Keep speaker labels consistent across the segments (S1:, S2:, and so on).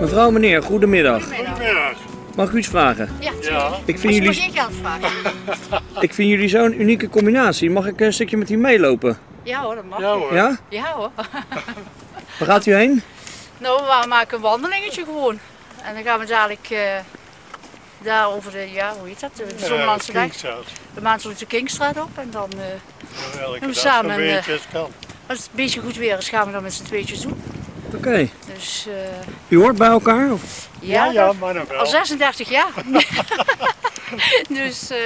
S1: Mevrouw, meneer, goedemiddag.
S2: Goedemiddag.
S1: Mag ik u iets vragen?
S3: Ja,
S2: Ja.
S1: Ik
S3: Moet
S1: vind
S3: je nog
S1: jullie,
S3: eentje aanvragen?
S1: ik vind jullie zo'n unieke combinatie. Mag ik een stukje met u meelopen?
S3: Ja hoor, dat mag.
S2: Ja
S3: Ja,
S2: hoor.
S1: Ja?
S3: hoor.
S1: Waar gaat u heen?
S3: Nou, we maken een wandelingetje gewoon. En dan gaan we dadelijk eh, daar over de, ja, hoe heet dat? De
S2: Eh,
S3: Zonderlandse weg.
S2: Kiekstraat.
S3: De Maandelijke Kingstraat op. En dan, eh,
S2: Ja, Elke
S3: Doen we
S2: dag
S3: samen
S2: een
S3: een, eh,
S2: beetje als dus kan.
S3: als het een beetje goed weer is, gaan we dan met z'n tweetjes doen.
S1: Oké.
S3: Dus eh,
S1: U hoort bij elkaar? Of?
S3: ja,
S2: ja, ja,
S3: dat-
S2: maar dan wel.
S3: al 36 jaar. dus eh,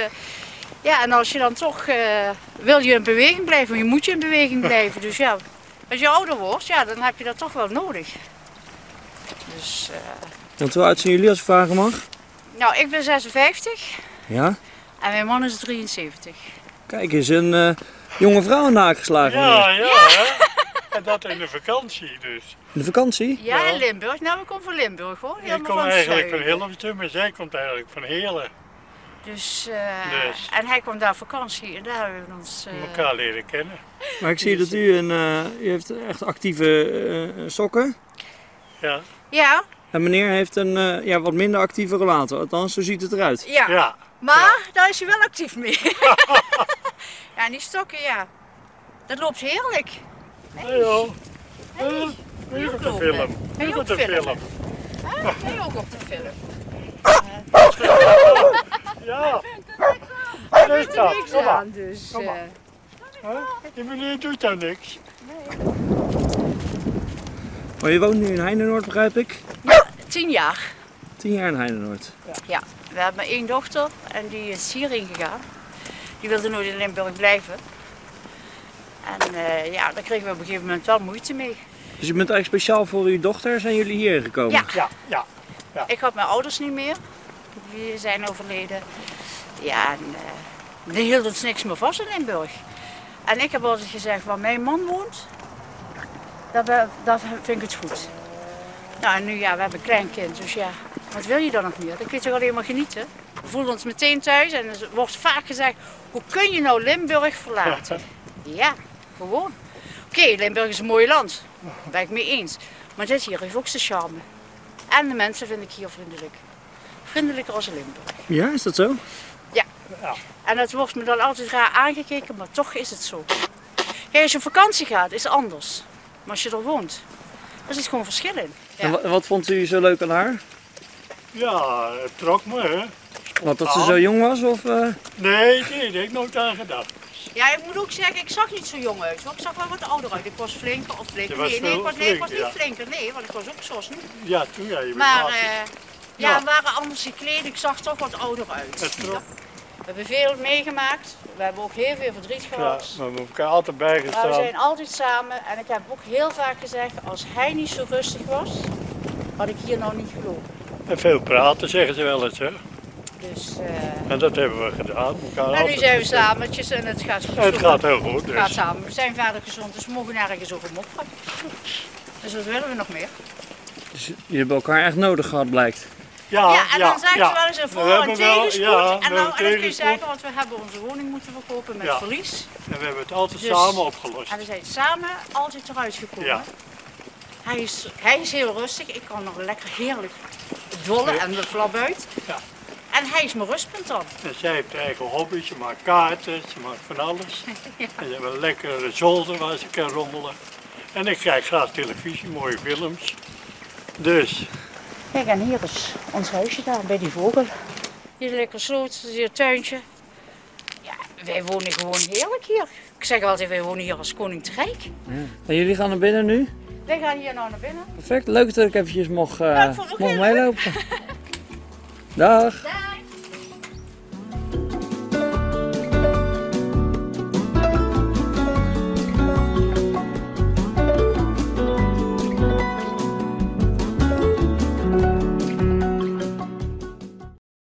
S3: ja, en als je dan toch, eh, wil je in beweging blijven, je moet je in beweging blijven. Dus ja, als je ouder wordt, ja, dan heb je dat toch wel nodig. Dus... eh,
S1: Want hoe oud zijn jullie als ik vragen mag?
S3: Nou, ik ben 56
S1: Ja?
S3: en mijn man is 73.
S1: Kijk, is een eh, jonge vrouw aan de haak geslagen. meneer.
S2: Ja, ja, hè? En dat in de vakantie dus.
S1: De vakantie?
S3: Ja,
S2: Ja.
S3: in Limburg. Nou, ik kom van Limburg hoor.
S2: Ik
S3: Helemaal
S2: kom
S3: van het
S2: eigenlijk van
S3: zuiden.
S2: Hilversum, maar zij komt eigenlijk van Heerlen.
S3: Dus, eh,
S2: Dus.
S3: En hij kwam daar op vakantie en daar hebben we ons... eh,
S2: Elkaar leren kennen.
S1: Maar ik zie dat u een, eh, u heeft echt actieve eh, sokken.
S2: Ja,
S3: Ja,
S1: En meneer heeft een eh, ja, wat minder actieve relator. Althans, zo ziet het eruit.
S3: ja.
S2: ja.
S3: Maar daar is hij wel actief mee. ja, en die stokken, ja. Dat loopt heerlijk.
S2: Hey, joh. Eh, Hey, je
S3: ook
S2: komt een
S3: lopen.
S2: film.
S3: Wil
S2: Je
S3: je
S2: komt
S3: ook
S2: een film.
S3: filmen? Hè? Jij ook op de film.
S2: Ja,
S3: Daar
S2: dat is
S3: doet er
S2: dat.
S3: niks
S2: Kom maar.
S3: aan, dus...
S2: Kom maar.
S3: eh,
S2: Hè? Die meneer doet daar niks.
S1: Maar je woont nu in Heindenoord, begrijp ik?
S3: tien jaar.
S1: Tien jaar in Heindenoord.
S3: Ja, we hebben één dochter en die is hierin gegaan. Die wilde nooit in Limburg blijven. En eh, ja, daar kregen we op een gegeven moment wel moeite mee.
S1: Dus je bent eigenlijk speciaal voor uw dochter zijn jullie hier gekomen?
S3: Ja.
S2: Ja, ja.
S3: Ik had mijn ouders niet meer. Die zijn overleden. Ja, en eh, die hield ons niks meer vast in Limburg. En ik heb altijd gezegd, waar mijn man woont, dat, we- dat vind ik het goed. Nou, en nu ja, we hebben een kleinkind, dus ja, wat wil je dan nog meer? Dan kun je toch alleen maar genieten? We voelen ons meteen thuis en er wordt vaak gezegd, hoe kun je nou Limburg verlaten? Ja, gewoon. Oké, Limburg is een mooi land, daar ben ik mee eens. Maar dit hier heeft ook zijn charme. En de mensen vind ik hier vriendelijk. Vriendelijker als in Limburg.
S1: Ja, is dat zo?
S3: En dat wordt me dan altijd raar aangekeken, maar toch is het zo. Kijk, als je op vakantie gaat, is het anders. Maar als je er woont, er zit gewoon verschil in. Ja.
S1: En wa- wat vond u zo leuk aan haar?
S2: Ja, het trok me, hè.
S1: Wat, dat ze zo jong was? Of, eh,
S2: Nee, nee, daar heb ik nooit aan gedacht.
S3: Ja, ik moet ook zeggen, ik zag niet zo jong uit. hoor. Ik zag wel wat ouder uit. Ik was flinker of flinker.
S2: Je was
S3: Nee, nee, ik
S2: wel
S3: was, nee, ik was niet
S2: flink,
S3: flinker. Nee, want ik was ook zoals nu.
S2: Ja, toen, ja, je bent
S3: Maar
S2: laat.
S3: eh, ja, we waren anders gekleed. Ik zag toch wat ouder uit.
S2: Het trok
S3: We hebben veel meegemaakt. We hebben ook heel veel verdriet
S2: Ja,
S3: gehad.
S2: we hebben elkaar altijd
S3: Maar we
S2: bijgestaan.
S3: zijn altijd samen en ik heb ook heel vaak gezegd, als hij niet zo rustig was, had ik hier nou niet gelopen.
S2: En veel praten, zeggen ze wel eens. Hè?
S3: Dus, eh,
S2: En dat hebben we gedaan. Elkaar
S3: en Nou, nu
S2: altijd
S3: zijn we
S2: gesproken.
S3: samentjes en het gaat goed.
S2: Het gaat heel goed.
S3: Het gaat
S2: Dus.
S3: samen. We zijn vader gezond, dus we mogen nergens over mopperen. Dus wat willen we nog meer?
S1: dus jullie hebben elkaar echt nodig gehad, blijkt.
S3: ja, en dan zeggen ze wel eens een
S2: We
S3: voor- en
S2: hebben wel-
S3: tegenspoed.
S2: ja, we
S3: en nou,
S2: hebben
S3: en dan kun je
S2: tegenspoed.
S3: zeggen, want we hebben onze woning moeten verkopen met
S2: Ja.
S3: verlies.
S2: En we hebben het altijd
S3: Dus-
S2: samen opgelost.
S3: En we zijn samen altijd eruit gekomen.
S2: Ja.
S3: Hij, is, hij is heel rustig. Ik kan nog lekker heerlijk dollen en de flap uit.
S2: Ja.
S3: En hij is mijn rustpunt dan.
S2: En zij heeft eigen hobby's, ze maakt kaarten, ze maakt van alles. En ze hebben een lekkere zolder waar ze kan rommelen. En ik kijk graag televisie, mooie films. Dus,
S3: Kijk, en hier is ons huisje daar, bij die vogel. Hier is lekker sloot, hier is een tuintje. Ja, wij wonen gewoon heerlijk hier. Ik zeg altijd, wij wonen hier als koning te rijk.
S1: En jullie gaan naar binnen nu?
S3: Wij gaan hier nou naar binnen.
S1: Perfect, leuk dat ik eventjes mocht, eh,
S3: Ja, ik vond het ook
S1: mocht
S3: heel leuk.
S1: meelopen. Dag.
S3: Dag!